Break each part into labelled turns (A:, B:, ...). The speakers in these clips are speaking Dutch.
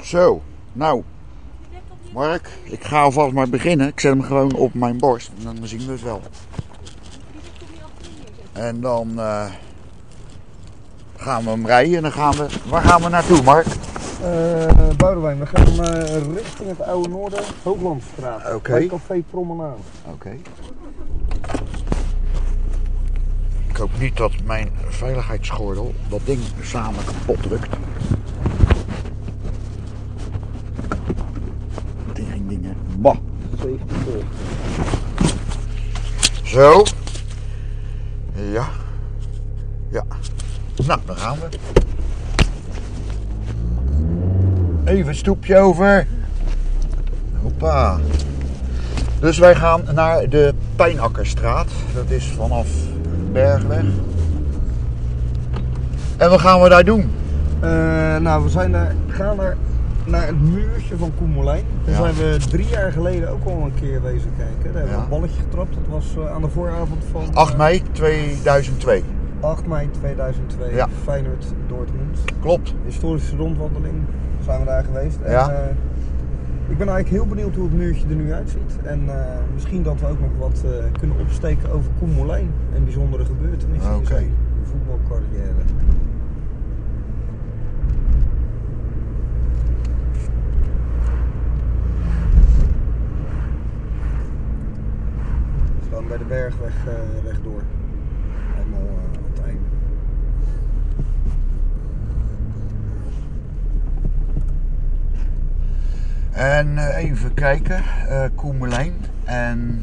A: Zo, nou, Mark, ik ga alvast maar beginnen. Ik zet hem gewoon op mijn borst en dan zien we het wel. En dan eh, gaan we hem rijden en dan gaan we... Waar gaan we naartoe, Mark?
B: Eh Boudewijn, we gaan eh, richting het Oude Noorden, Hooglandstraat.
A: Oké.
B: Bij Café Promenade.
A: Oké. Ik hoop niet dat mijn veiligheidsgordel dat ding samen kapot drukt. Tegen dingen. Bah.
B: 74.
A: Zo. Ja. Ja. Nou, dan gaan we. Even een stoepje over. Hoppa. Dus wij gaan naar de Pijnakkerstraat. Dat is vanaf Bergweg. En wat gaan we daar doen?
B: Eh, nou, we zijn daar, gaan daar naar het muurtje van Koemelijn. Daar
A: Ja.
B: zijn we drie jaar geleden ook al een keer wezen kijken. Daar hebben we
A: Ja.
B: een balletje getrapt. Dat was eh, aan de vooravond van eh,
A: 8 mei 2002.
B: 8 mei 2002.
A: Ja.
B: Feyenoord Dortmund.
A: Klopt.
B: Historische rondwandeling zijn we daar geweest. En,
A: Ja.
B: eh, ik ben eigenlijk heel benieuwd hoe het muurtje er nu uitziet. En eh, misschien dat we ook nog wat eh, kunnen opsteken over Koemelijn. Een bijzondere gebeurtenis in
A: Oké.
B: zijn voetbalcarrière. Gewoon bij de bergweg eh, rechtdoor. Helemaal eh, aan het einde.
A: En eh, even kijken, eh Koemelijn. En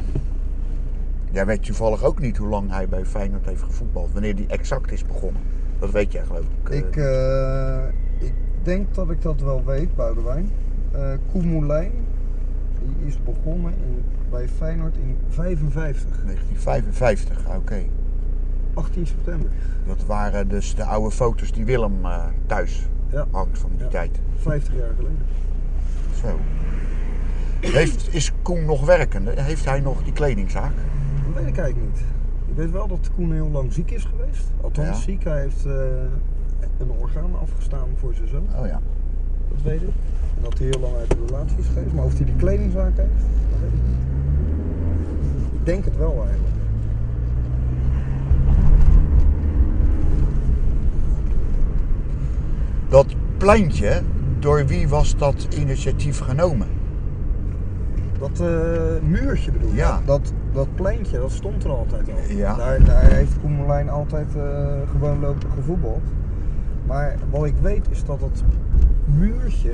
A: jij weet toevallig ook niet hoe lang hij bij Feyenoord heeft gevoetbald. Wanneer die exact is begonnen. Dat weet jij geloof ik. eh.
B: Ik, eh, ik denk dat ik dat wel weet, Boudewijn. Eh Koemelijn, die is begonnen in, bij Feyenoord in
A: eh,
B: 55,
A: 1955, Ah, oké.
B: 18 september.
A: Dat waren dus de oude foto's die Willem eh, thuis
B: Ja.
A: hangt van die
B: Ja.
A: tijd.
B: 50 jaar geleden.
A: Zo. Heeft, is Koen nog werkende? Heeft hij nog die kledingzaak?
B: Dat weet ik eigenlijk niet. Ik weet wel dat Koen heel lang ziek is geweest. Althans
A: Ja.
B: ziek, hij heeft eh, een orgaan afgestaan voor zijn zoon.
A: Oh ja.
B: Dat weet ik. En dat hij heel lang uit de relatie is geweest. Maar of hij die kledingzaak heeft, dat weet ik niet. Ik denk het wel eigenlijk.
A: Dat pleintje, door wie was dat initiatief genomen?
B: Dat eh, muurtje bedoel je?
A: Ja.
B: Dat, dat pleintje, dat stond er altijd al.
A: Ja.
B: Daar, daar heeft Koemelijn altijd eh, gewoon lopen gevoetbald. Maar wat ik weet is dat dat muurtje,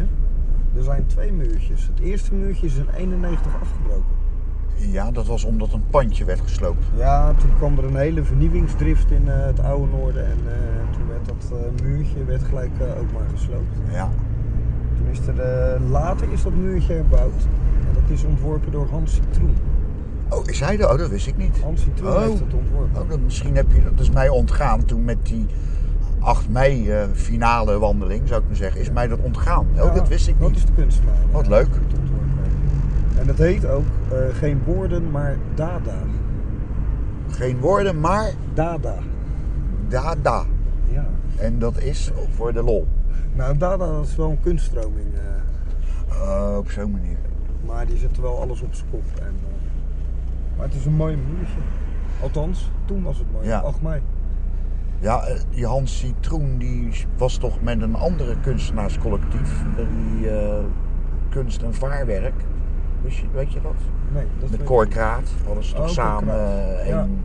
B: er zijn twee muurtjes. Het eerste muurtje is in 91 afgebroken.
A: Ja, dat was omdat een pandje werd gesloopt.
B: Ja, toen kwam er een hele vernieuwingsdrift in eh, het oude noorden. En eh, toen werd dat eh, muurtje werd gelijk eh, ook maar gesloopt.
A: Ja.
B: Toen is er, eh, later is dat muurtje herbouwd. En dat is ontworpen door Hans Citroen.
A: Oh, is hij er? Oh, dat wist ik niet.
B: Hans Citroen
A: Oh.
B: heeft het ontworpen.
A: Oh, dat, misschien heb je dat is mij ontgaan toen met die 8 mei eh, finale wandeling, zou ik maar zeggen. Is mij dat ontgaan? Oh,
B: Ja,
A: dat wist ik
B: Dat
A: niet.
B: is de kunstenaar.
A: Wat
B: Ja,
A: leuk.
B: dat moet ontworpen worden. En dat heet ook eh, geen woorden, maar dada.
A: Geen woorden, maar
B: Dada.
A: dada.
B: Ja.
A: En dat is voor de lol.
B: Nou, dada dat is wel een kunststroming. eh,
A: Oh, op zo'n manier.
B: maar die zet wel alles op zijn kop. En, eh, maar het is een mooi muurtje. Althans, toen was het mooi.
A: Ja.
B: 8 mei.
A: Ja, eh, die Hans Citroen die was toch met een andere kunstenaarscollectief. eh, Die eh, kunst en vaarwerk. Wist je- weet je dat?
B: Nee, dat weet
A: Met
B: ik
A: Cor
B: niet.
A: Kraat hadden ze toch
B: Oh, Cor
A: samen
B: Kraat.
A: eh,
B: Ja.
A: één,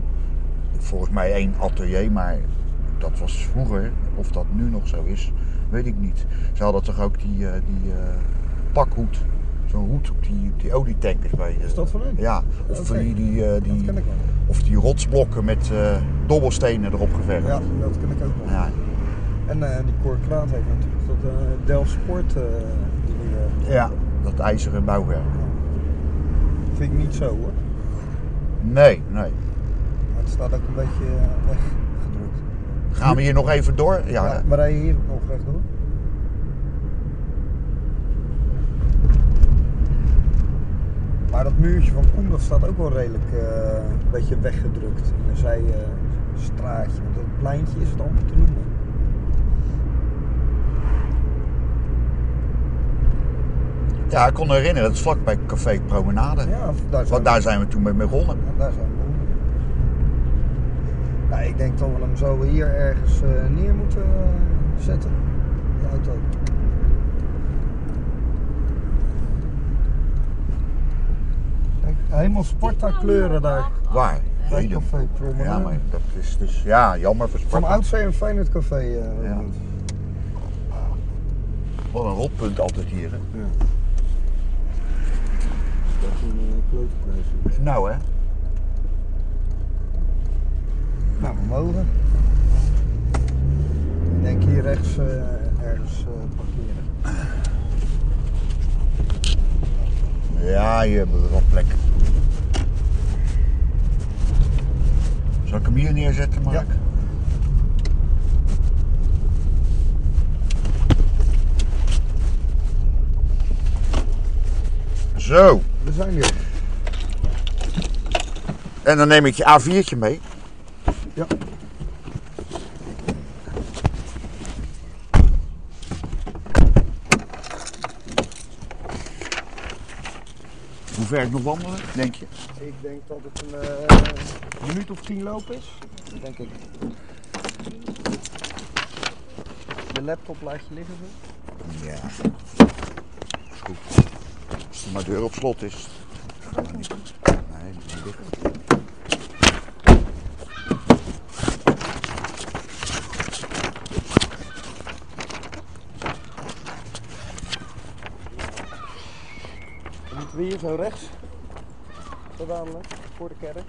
A: volgens mij één atelier, maar dat was vroeger, of dat nu nog zo is, weet ik niet. Ze hadden toch ook die, eh, die eh, pakhoed, zo'n hoed op die, op die olietankers bij. eh,
B: Is dat van hun?
A: Ja, of
B: Oké.
A: van die, die, eh,
B: Dat
A: die,
B: ken ik wel.
A: of die rotsblokken met eh, dobbelstenen erop geverfd.
B: Ja, dat ken ik ook wel.
A: Ja,
B: En eh, die Cor Kraat heeft natuurlijk dat eh Del Sport. eh, die nieuwe-
A: ja, dat ijzeren bouwwerk.
B: nou, Vind ik niet zo hoor.
A: Nee, nee.
B: Maar het staat ook een beetje eh, weggedrukt.
A: Gaan we hier nog even door? Ja,
B: Ja, we rijden hier nog rechtdoor. Maar dat muurtje van Koen dat staat ook wel redelijk eh, een beetje weggedrukt. In een zijstraatje. Want dat pleintje is het amper te noemen.
A: Ja, ik kon me herinneren, dat is vlakbij Café Promenade.
B: Ja, daar zijn
A: Want daar zijn we toen mee begonnen.
B: Ja, daar zijn we. Nou, ik denk dat we hem zo hier ergens eh, neer moeten eh, zetten. De auto. Kijk, helemaal Sparta kleuren daar.
A: Waar?
B: Bij
A: Heden.
B: Café Promenade.
A: Ja, maar dat is dus... Ja, jammer voor
B: eh, Van
A: Sparta.
B: oudsher een Feyenoord café. eh,
A: Ja.
B: Ruud.
A: Wat een rotpunt altijd hier, hè?
B: Ja. Dat is een eh, klote prijs.
A: Nou, hè?
B: Nou, we mogen. Ik denk hier rechts eh, ergens eh, parkeren.
A: Ja, hier hebben we wel plek. Zal ik hem hier neerzetten, Mark?
B: Ja.
A: Zo,
B: We zijn hier.
A: en dan neem ik je A4'tje mee.
B: Ja.
A: Hoe ver ik nog wandelen, denk je?
B: Ik denk dat het een eh, minuut of tien loop is. Denk ik. De laptop laat je liggen. zo.
A: Ja. Is goed. Als maar de deur op slot is. Gaan we niet. Nee, die is niet dicht.
B: Dan moeten we hier zo rechts. Zo dadelijk, voor de kerk.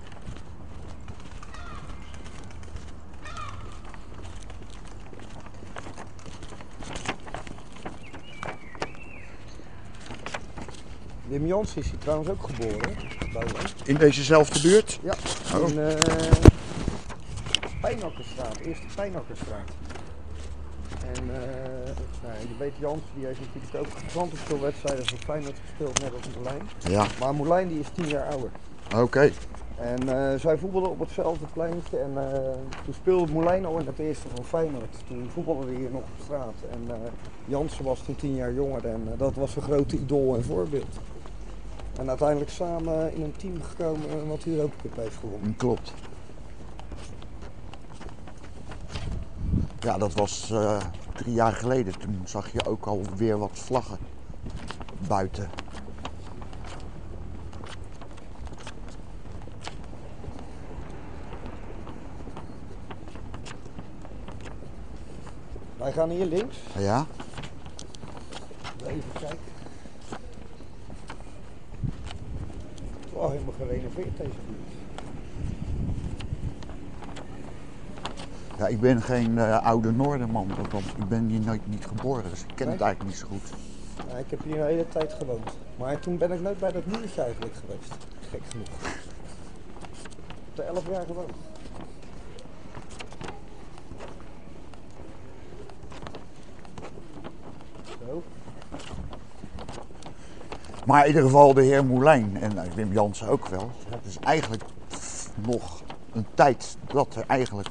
B: Wim Jans is hier trouwens ook geboren. Bij ons.
A: In dezezelfde buurt?
B: Ja,
A: Oh.
B: in eh Pijnakkerstraat, Eerste Pijnakkerstraat. En eh, nou, je weet Jans, die heeft natuurlijk ook gigantisch veel wedstrijden voor Feyenoord gespeeld, net als Moulijn.
A: Ja,
B: Maar Moulijn die is 10 jaar ouder.
A: oké.
B: En eh, zij voetbalden op hetzelfde pleintje en eh, toen speelde Moulijn al in het eerste van Feyenoord. Toen voetbalden we hier nog op straat. En eh, Jansen was toen 10 jaar jonger en eh, dat was zijn grote idool en voorbeeld. En uiteindelijk samen eh, in een team gekomen eh, wat de Europa Cup heeft gewonnen.
A: Klopt. Ja, dat was eh, drie jaar geleden. Toen zag je ook alweer wat vlaggen buiten.
B: Wij gaan hier links.
A: Ja?
B: Even kijken. Het is wel helemaal gerenoveerd deze buurt.
A: ja ik ben geen eh, oude Noorderman, want ik ben hier nooit niet geboren. Dus ik ken het
B: Nee?
A: eigenlijk niet zo goed.
B: Nou, ik heb hier een hele tijd gewoond. Maar toen ben ik nooit bij dat muurtje eigenlijk geweest. Gek genoeg. Op de 11 jaar gewoond. Zo.
A: Maar in ieder geval de heer Moulijn en eh, Wim Jansen ook wel. Het is eigenlijk nog een tijd dat er eigenlijk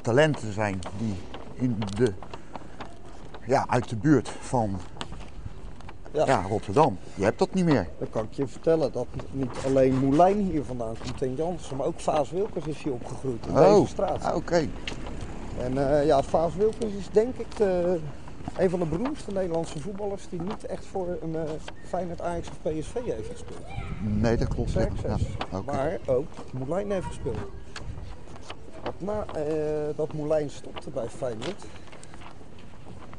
A: talenten zijn die in de, ja, uit de buurt van
B: Ja.
A: ja, Rotterdam. Je hebt dat niet meer.
B: Dan kan ik je vertellen dat niet alleen Moulijn hier vandaan komt en Jansen, maar ook Vaas Wilkens is hier opgegroeid in
A: Oh.
B: deze straat.
A: Ah, oké.
B: En eh, ja, Faas Wilkens is denk ik de, een van de beroemdste Nederlandse voetballers die niet echt voor een eh Feyenoord, Ajax of PSV heeft gespeeld.
A: Nee, dat klopt.
B: Sterk
A: ja.
B: zes.
A: Ja, oké.
B: Maar ook Moulijn heeft gespeeld. Want na eh, dat Moulijn stopte bij Feyenoord,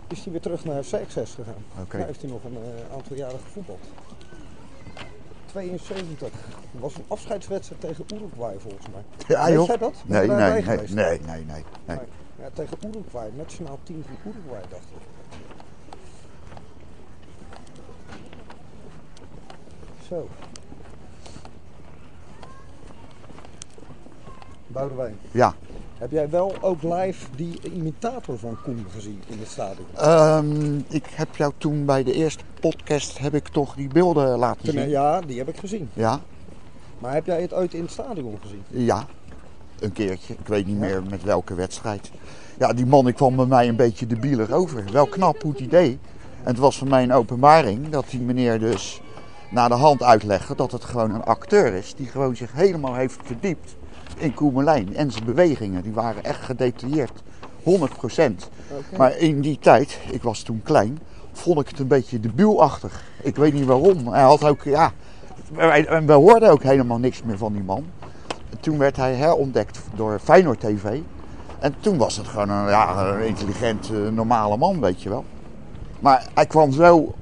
B: is hij weer terug naar FC Access gegaan.
A: Oké.
B: Daar heeft hij nog een eh, aantal jaren gevoetbald. 72. Dat was een afscheidswedstrijd tegen Uruguay volgens mij.
A: Ja,
B: Weet
A: joh.
B: jij dat? Ben
A: Nee,
B: je daarbij
A: nee, nee,
B: geweest?
A: nee, nee, nee, nee.
B: Maar, ja, tegen Uruguay, nationaal team van Uruguay dacht ik. Zo. Boudewijn,
A: Ja.
B: heb jij wel ook live die imitator van Koen gezien in het stadion?
A: Ehm, ik heb jou toen bij de eerste podcast heb ik toch die beelden laten zien. Ja.
B: Ja, die heb ik gezien.
A: ja,
B: Maar heb jij het ooit in het stadion gezien?
A: Een keertje. Ik weet niet meer met welke wedstrijd. Ja, die man die kwam bij mij een beetje debieler over. Wel knap hoe die deed. En het was voor mij een openbaring dat die meneer dus naar de hand uitlegde dat het gewoon een acteur is die gewoon zich helemaal heeft verdiept in Koemelijn en zijn bewegingen. Die waren echt gedetailleerd, 100
B: Oké.
A: maar in die tijd, ik was toen klein, vond ik het een beetje debielachtig. Ik weet niet waarom. Hij had ook, ja, wij- en we hoorden ook helemaal niks meer van die man. Toen werd hij herontdekt door Feyenoord TV. En toen was het gewoon een, ja, een intelligent, eh, normale man, weet je wel. Maar hij kwam zo...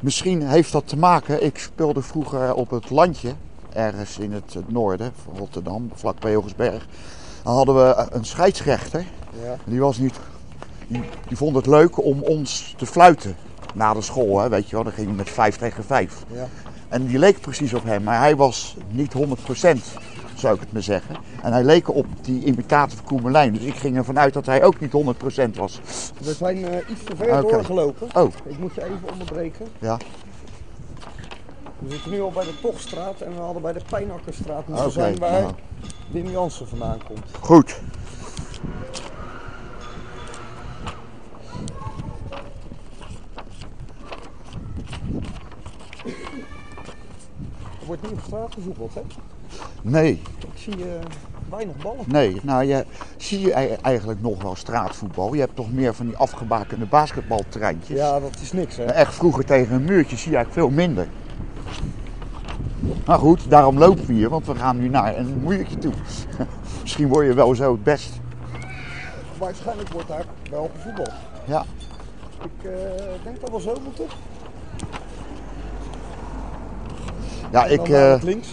A: Misschien heeft dat te maken... Ik speelde vroeger op het landje, ergens in het noorden van Rotterdam, vlakbij Hogesberg. Dan hadden we een scheidsrechter.
B: Ja.
A: Die was niet die, die vond het leuk om ons te fluiten na de school. Hè, weet je wel, dan ging hij met vijf tegen vijf.
B: Ja.
A: En die leek precies op hem, maar hij was niet 100%, zou ik het maar zeggen. En hij leek op die imitator van Koemelijn. Dus ik ging ervan uit dat hij ook niet 100% was.
B: We zijn eh, iets te ver
A: Oké.
B: doorgelopen.
A: Oh,
B: Ik moet je even onderbreken.
A: ja.
B: We zitten nu al bij de Tochtstraat en we hadden bij de Pijnakkerstraat moeten
A: Oké,
B: zijn waar
A: nou.
B: Wim Jansen vandaan komt.
A: Goed.
B: Er wordt niet op straat gevoetbald, hè?
A: Nee,
B: Ik zie eh, weinig ballen.
A: nee. Nou, je, zie je ei- eigenlijk nog wel straatvoetbal? Je hebt toch meer van die afgebakende basketbaltreintjes?
B: Ja, dat is niks, hè?
A: Maar Echt vroeger tegen een muurtje zie je eigenlijk veel minder. Maar goed, daarom lopen we hier, want we gaan nu naar een muurtje toe. Misschien word je wel zo het best.
B: Waarschijnlijk wordt daar wel gevoetbald.
A: Ja,
B: Ik eh, denk dat we zo moeten.
A: ja
B: En
A: ik,
B: dan naar
A: eh,
B: het links.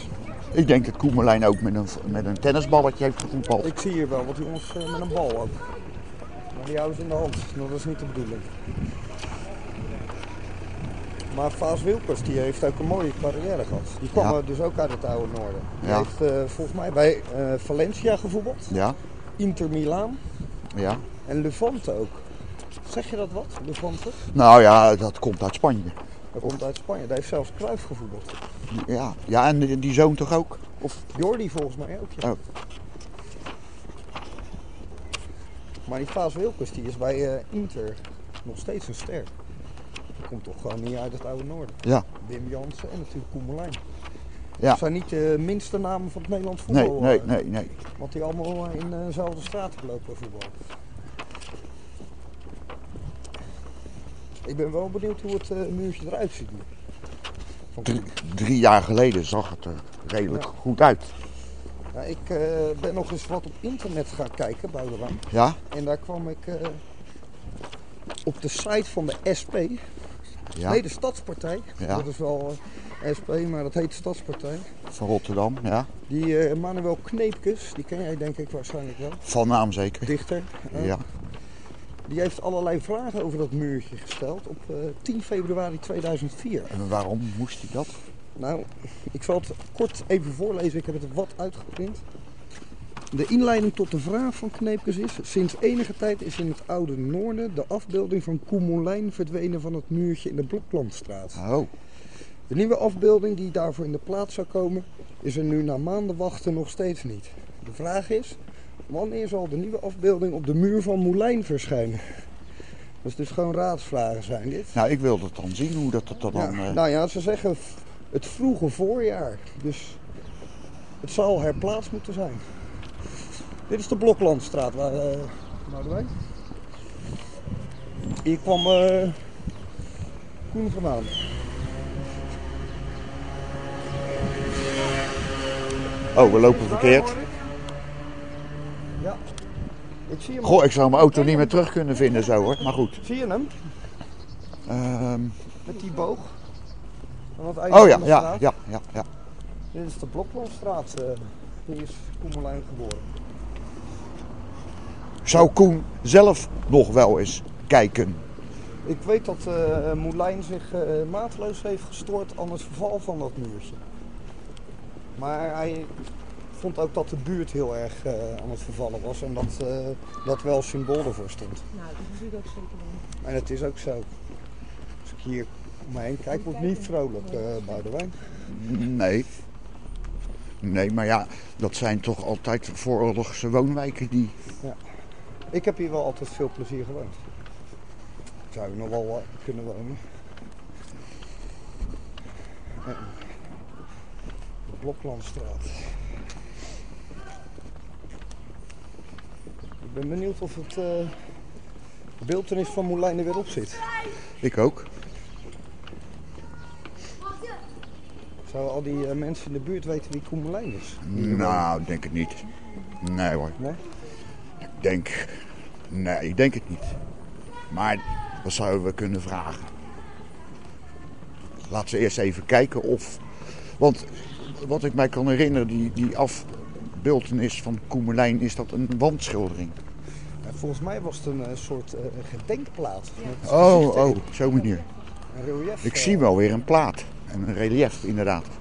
A: ik denk dat Koemerlijn ook met een, met een tennisballetje heeft gevoetbald.
B: Ik zie hier wel wat jongens eh, met een bal ook. Maar die houden ze in de hand. Nou, dat is niet de bedoeling. Maar Faas Wilkers die heeft ook een mooie carrière gehad. Die kwam
A: Ja.
B: eh, dus ook uit het oude noorden. Die
A: Ja.
B: heeft eh, volgens mij bij eh, Valencia gevoetbald.
A: Ja,
B: Inter Milaan
A: ja.
B: en Levante ook. Zeg je dat wat? Levante?
A: Nou ja, dat komt uit Spanje.
B: Dat komt uit Spanje. Daar heeft zelfs Cruijff gevoetbald.
A: Ja, ja en die- die zoon toch ook? Of,
B: Jordi volgens mij ook. Ja.
A: Oh.
B: Maar die Klaas Wilkes die is bij eh, Inter nog steeds een ster. Die komt toch gewoon niet uit het oude noorden.
A: ja,
B: Wim Jansen en natuurlijk Koemelijn.
A: Ja.
B: Dat zijn niet de minste namen van het Nederlands
A: nee,
B: voetbal.
A: nee,
B: eh,
A: nee, nee.
B: Want die allemaal eh, in eh, dezelfde straat lopen voetbal. Ik ben wel benieuwd hoe het eh, muurtje eruit ziet nu. Van
A: Drie, drie jaar geleden zag het er redelijk
B: Ja.
A: goed uit.
B: Nou, ik eh, ben nog eens wat op internet gaan kijken, Boudewijn.
A: Ja,
B: En daar kwam ik eh, op de site van de SP.
A: ja.
B: Nee, de Stadspartij.
A: Ja.
B: Dat is wel eh, SP, maar dat heet Stadspartij.
A: Van Rotterdam, ja.
B: Die eh, Manuel Kneepkes, die ken jij denk ik waarschijnlijk wel.
A: Van naam zeker.
B: Dichter. eh,
A: Ja,
B: Die heeft allerlei vragen over dat muurtje gesteld op eh, 10 februari 2004.
A: en waarom moest hij dat?
B: Nou, ik zal het kort even voorlezen. Ik heb het wat uitgeprint. De inleiding tot de vraag van Kneepkes is... Sinds enige tijd is in het oude noorden de afbeelding van Koemelijn verdwenen van het muurtje in de Bloklandstraat.
A: Oh,
B: De nieuwe afbeelding die daarvoor in de plaats zou komen, is er nu na maanden wachten nog steeds niet. De vraag is, wanneer zal de nieuwe afbeelding op de muur van Moulijn verschijnen? Dat is dus gewoon raadsvragen zijn dit.
A: nou ik wil dat dan zien, hoe dat, dat dan...
B: Ja,
A: eh,
B: nou ja, ze zeggen v- het vroege voorjaar. Dus het zal herplaatst moeten zijn. Dit is de Bloklandstraat waar eh Boudewijn. Hier kwam eh Koen vandaan.
A: Oh, we lopen verkeerd.
B: Ja. Ik zie hem.
A: Goh, ik zou mijn auto niet meer terug kunnen vinden zo hoor. Maar goed.
B: Zie je hem?
A: Ehm,
B: Met die boog. Aan het einde
A: oh ja,
B: van de
A: ja,
B: straat.
A: ja, ja, ja.
B: Dit is de Bloklandstraat. eh hier is Koemelijn geboren.
A: Zou Koen zelf nog wel eens kijken?
B: Ik weet dat eh Moulijn zich eh, maatloos heeft gestoord aan het verval van dat muurtje. Maar hij vond ook dat de buurt heel erg eh, aan het vervallen was en dat eh, dat wel symbool ervoor stond.
C: Nou, dat is natuurlijk ook zeker wel.
B: En het is ook zo. Als ik hier om me heen kijk, word ik niet vrolijk eh bij de wijn.
A: Nee. Nee, maar ja, dat zijn toch altijd vooroorlogse woonwijken die...
B: Ik heb hier wel altijd veel plezier gewoond. zou je nog wel eh, kunnen wonen. Eh, De Bloklandstraat. Ik ben benieuwd of het eh beeldenis van Moulijn er weer op zit.
A: Ik ook.
B: Zouden al die eh, mensen in de buurt weten wie Koen Moulijn is? Die er
A: Nou, ik denk het niet. Nee hoor.
B: wonen? Nee?
A: Ik denk. Nee, ik denk het niet. Maar wat zouden we kunnen vragen? Laten ze eerst even kijken of. Want wat ik mij kan herinneren, die, die afbeeldenis van Koemelijn, is dat een wandschildering.
B: En volgens mij was het een eh, soort eh, gedenkplaat. met
A: Oh,
B: gezichten
A: oh, op zo'n manier.
B: en relief,
A: Ik
B: eh,
A: zie wel weer een plaat. En een relief, inderdaad.
B: Er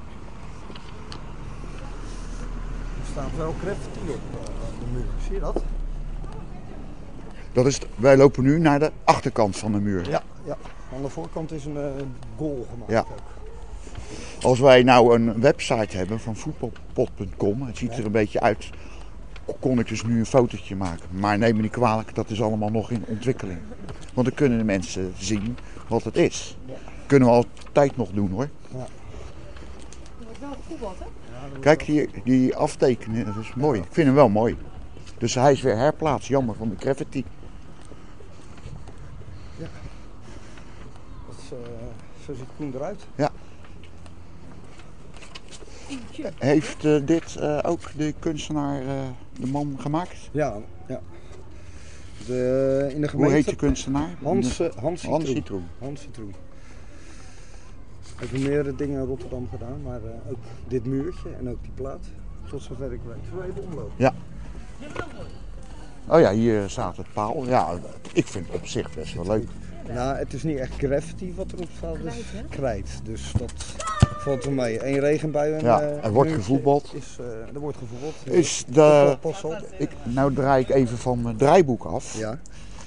B: staat wel graffiti op eh, de muur. Zie je dat?
A: Dat is, wij lopen nu naar de achterkant van de muur.
B: ja. Aan de voorkant is een eh, goal gemaakt
A: Ja.
B: ook.
A: Als wij nou een website hebben van voetbalpot.com, het ziet er een beetje uit, kon ik dus nu een fotootje maken. Maar neem me niet kwalijk, dat is allemaal nog in ontwikkeling. Want dan kunnen de mensen zien wat het is.
B: Ja.
A: Kunnen we altijd nog doen hoor.
C: Er wordt wel gevoetbald, hè?
A: Kijk, die, die aftekening, dat is mooi. Ik vind hem wel mooi. Dus hij is weer herplaatst, jammer van de graffiti.
B: Dat is, eh, zo ziet Koen eruit.
A: Heeft eh, dit eh, ook de kunstenaar, eh, de man, gemaakt?
B: Ja, ja. De, eh, in
A: Hoe
B: de gemeente...
A: heet de kunstenaar?
B: Hans, eh, Hans,
A: Hans
B: Citroen.
A: Citroen.
B: Hans Citroen. Ik heb meerdere dingen in Rotterdam gedaan, maar eh, ook dit muurtje en ook die plaat. Tot zover ik weet. Zullen we even omlopen?
A: Oh ja, hier staat het paal. Ja, ik vind het op zich best wel leuk.
B: Nou, het is niet echt graffiti wat erop staat, het is
C: Krijt, hè?
B: krijt. Dus dat valt wel mee. Eén regenbui en...
A: Ja,
B: eh,
A: er
B: een
A: wordt
B: muurtje
A: gevoetbald.
B: Is, eh, er wordt gevoetbald.
A: Is
B: Voetbal,
A: de,
B: pas op.
A: ik, nou draai ik even van mijn draaiboek af.
B: Ja.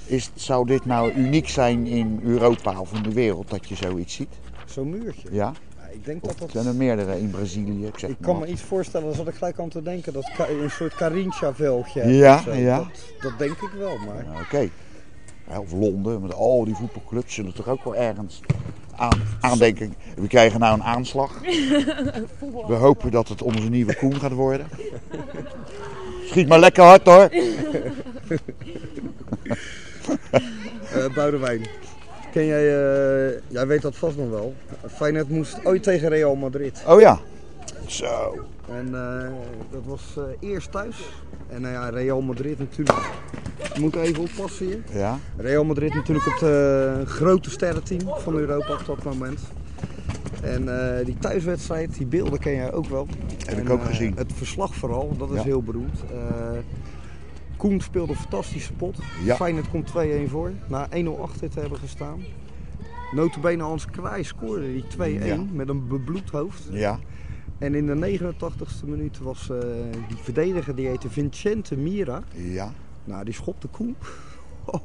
A: Is, zou dit nou uniek zijn in Europa of in de wereld dat je zoiets ziet?
B: Zo'n muurtje.
A: Ja?
B: Ja, ik denk
A: Of
B: dat dat...
A: zijn er meerdere in Brazilië? Ik, zeg
B: Ik
A: maar
B: kan me
A: wat.
B: iets voorstellen, daar zat ik gelijk aan te denken. Dat ka- een soort Carincha-veldje. hebt
A: Ja,
B: of zo.
A: ja.
B: Dat, dat denk ik wel, maar...
A: Ja, Oké. Ja, Of Londen, met al die voetbalclubs zullen toch ook wel ergens aan, aandenken. We krijgen nou een aanslag. We hopen dat het onze nieuwe Koen gaat worden. Schiet maar lekker hard hoor.
B: Eh Boudewijn, ken jij... eh, jij weet dat vast nog wel. Feyenoord moest ooit tegen Real Madrid.
A: Oh ja. Zo.
B: En eh, dat was eh, eerst thuis. En nou ja, Real Madrid natuurlijk... We moeten even oppassen hier.
A: Ja.
B: Real Madrid natuurlijk het eh, grote sterrenteam van Europa op dat moment. En eh, die thuiswedstrijd, die beelden ken jij ook wel.
A: Heb
B: En,
A: ik ook
B: eh,
A: gezien.
B: Het verslag vooral, dat is
A: Ja.
B: heel beroemd. Eh, Koen speelde een fantastische pot.
A: Ja.
B: Feyenoord komt 2-1 voor. Na 1-0 achter te hebben gestaan. Notabene Hans Kraai scoorde die 2-1
A: Ja.
B: met een bebloed hoofd.
A: Ja.
B: En in de 89ste minuut was eh, die verdediger, die heette Vincente Mira.
A: Ja.
B: Nou, die schopte Koen. Oh.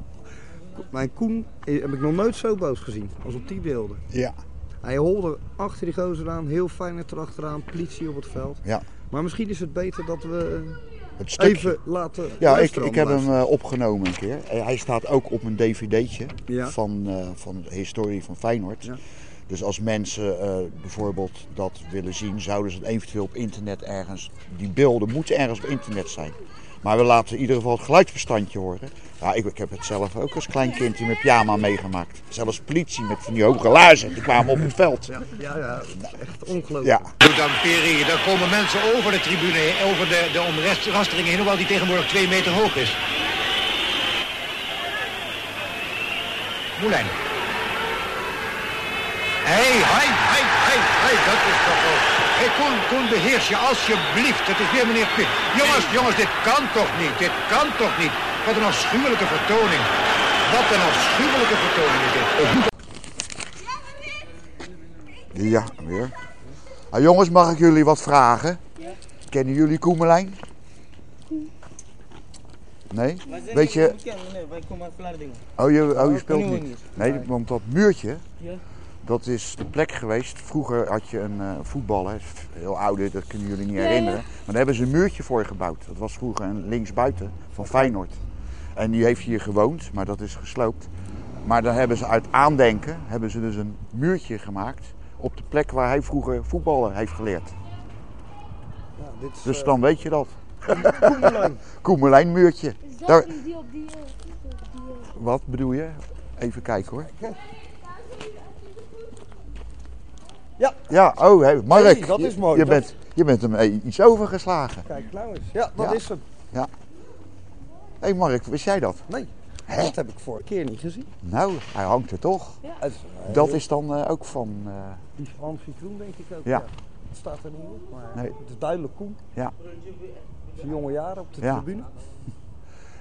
B: Mijn Koen eh, heb ik nog nooit zo boos gezien als op die beelden.
A: Ja.
B: Hij holde achter die gozer aan, heel fijn erachteraan, politie op het veld.
A: Ja.
B: Maar misschien is het beter dat we eh,
A: Het stukje.
B: even laten
A: Ja, ik,
B: luisteren
A: ik heb hem
B: allemaal.
A: eh, opgenomen een keer. Eh, Hij staat ook op een dvd'tje
B: Ja.
A: van, eh, van de historie van Feyenoord.
B: Ja.
A: Dus als mensen eh, bijvoorbeeld dat willen zien, zouden ze het eventueel op internet ergens... Die beelden moeten ergens op internet zijn. Maar we laten in ieder geval het geluidsbestandje horen. Ja, ik, ik heb het zelf ook als klein kind in mijn pyjama meegemaakt. Zelfs politie met van die hoge laarzen, die kwamen op het veld. Ja.
B: Ja, ja, dat is echt ongelooflijk.
D: Dan Peri, daar komen mensen over de tribune, heen, over de, de omrastering heen, hoewel die tegenwoordig twee meter hoog is. Moulijn. Hé, hé, hé, hé, hé, dat is toch wel... Hé, Koen, Koen, beheers je alsjeblieft. Het is weer meneer Peri. Jongens, jongens, dit kan toch niet, dit kan toch niet. Wat een afschuwelijke vertoning. Wat een afschuwelijke vertoning is dit.
A: Ja, weer. Ah, jongens, mag ik jullie wat vragen? Kennen jullie Koemelijn? Nee? Weet je,
E: Vai comer flardinho.
A: oh je, oh, je
E: Nou,
A: speelt
E: kunnen we
A: niet. Nee, want dat muurtje,
E: Ja.
A: dat is de plek geweest. Vroeger had je een eh, voetballer, f- heel oude, dat kunnen jullie niet herinneren. Maar daar hebben ze een muurtje voor gebouwd. Dat was vroeger een linksbuiten van Feyenoord. En die heeft hier gewoond, maar dat is gesloopt. Maar daar hebben ze uit aandenken hebben ze dus een muurtje gemaakt op de plek waar hij vroeger voetballen heeft geleerd.
B: Ja, dit is,
A: Dus
B: eh,
A: dan weet je dat.
B: Koemerlijn.
A: Koemerlijn muurtje.
C: Is dat
A: Daar-
C: die, die op die... eh, op die eh,
A: Wat bedoel je? Even kijken hoor.
B: Ja.
A: Ja, oh, hey, Mark.
B: Hey, dat is
A: je-
B: mooi,
A: Je,
B: dat-
A: bent, je bent hem eh, iets overgeslagen.
B: Kijk nou eens. Ja, dat
A: Ja.
B: is hem.
A: Hé hey Mark, wist jij dat?
B: Nee,
A: Hè?
B: dat heb ik vorige keer niet gezien.
A: Nou, hij hangt er toch.
B: Het is een
A: Dat
B: heel-
A: is dan eh, ook van... eh,
B: Die Frans Vitroen denk ik ook.
A: Ja.
B: Ja. Het staat er niet op, maar
A: Nee.
B: het is duidelijk Koen.
A: Ja.
B: Zijn jonge jaren op de
A: Ja.
B: tribune.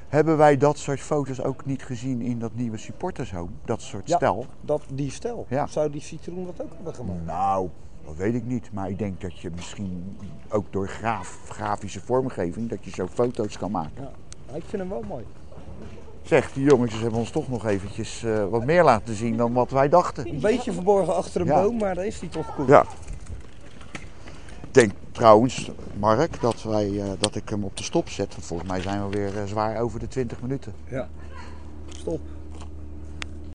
A: hebben wij dat soort foto's ook niet gezien in dat nieuwe supportershome? Dat soort
B: Ja.
A: stijl?
B: Dat, die stel.
A: Ja.
B: Zou die Citroen dat ook hebben gemaakt?
A: Nou, dat weet ik niet. Maar ik denk dat je misschien ook door graaf, grafische vormgeving... dat je zo foto's kan maken.
B: Ja. Ja, Ik vind hem wel mooi.
A: Zeg, die jongetjes hebben ons toch nog eventjes eh, wat meer laten zien dan wat wij dachten.
B: Een beetje verborgen achter een
A: Ja.
B: boom, maar daar is die toch Koen.
A: Ja. Ik denk trouwens, Mark, dat, wij, eh, dat ik hem op de stop zet. Want volgens mij zijn we weer eh, zwaar over de 20 minuten.
B: Ja. Stop.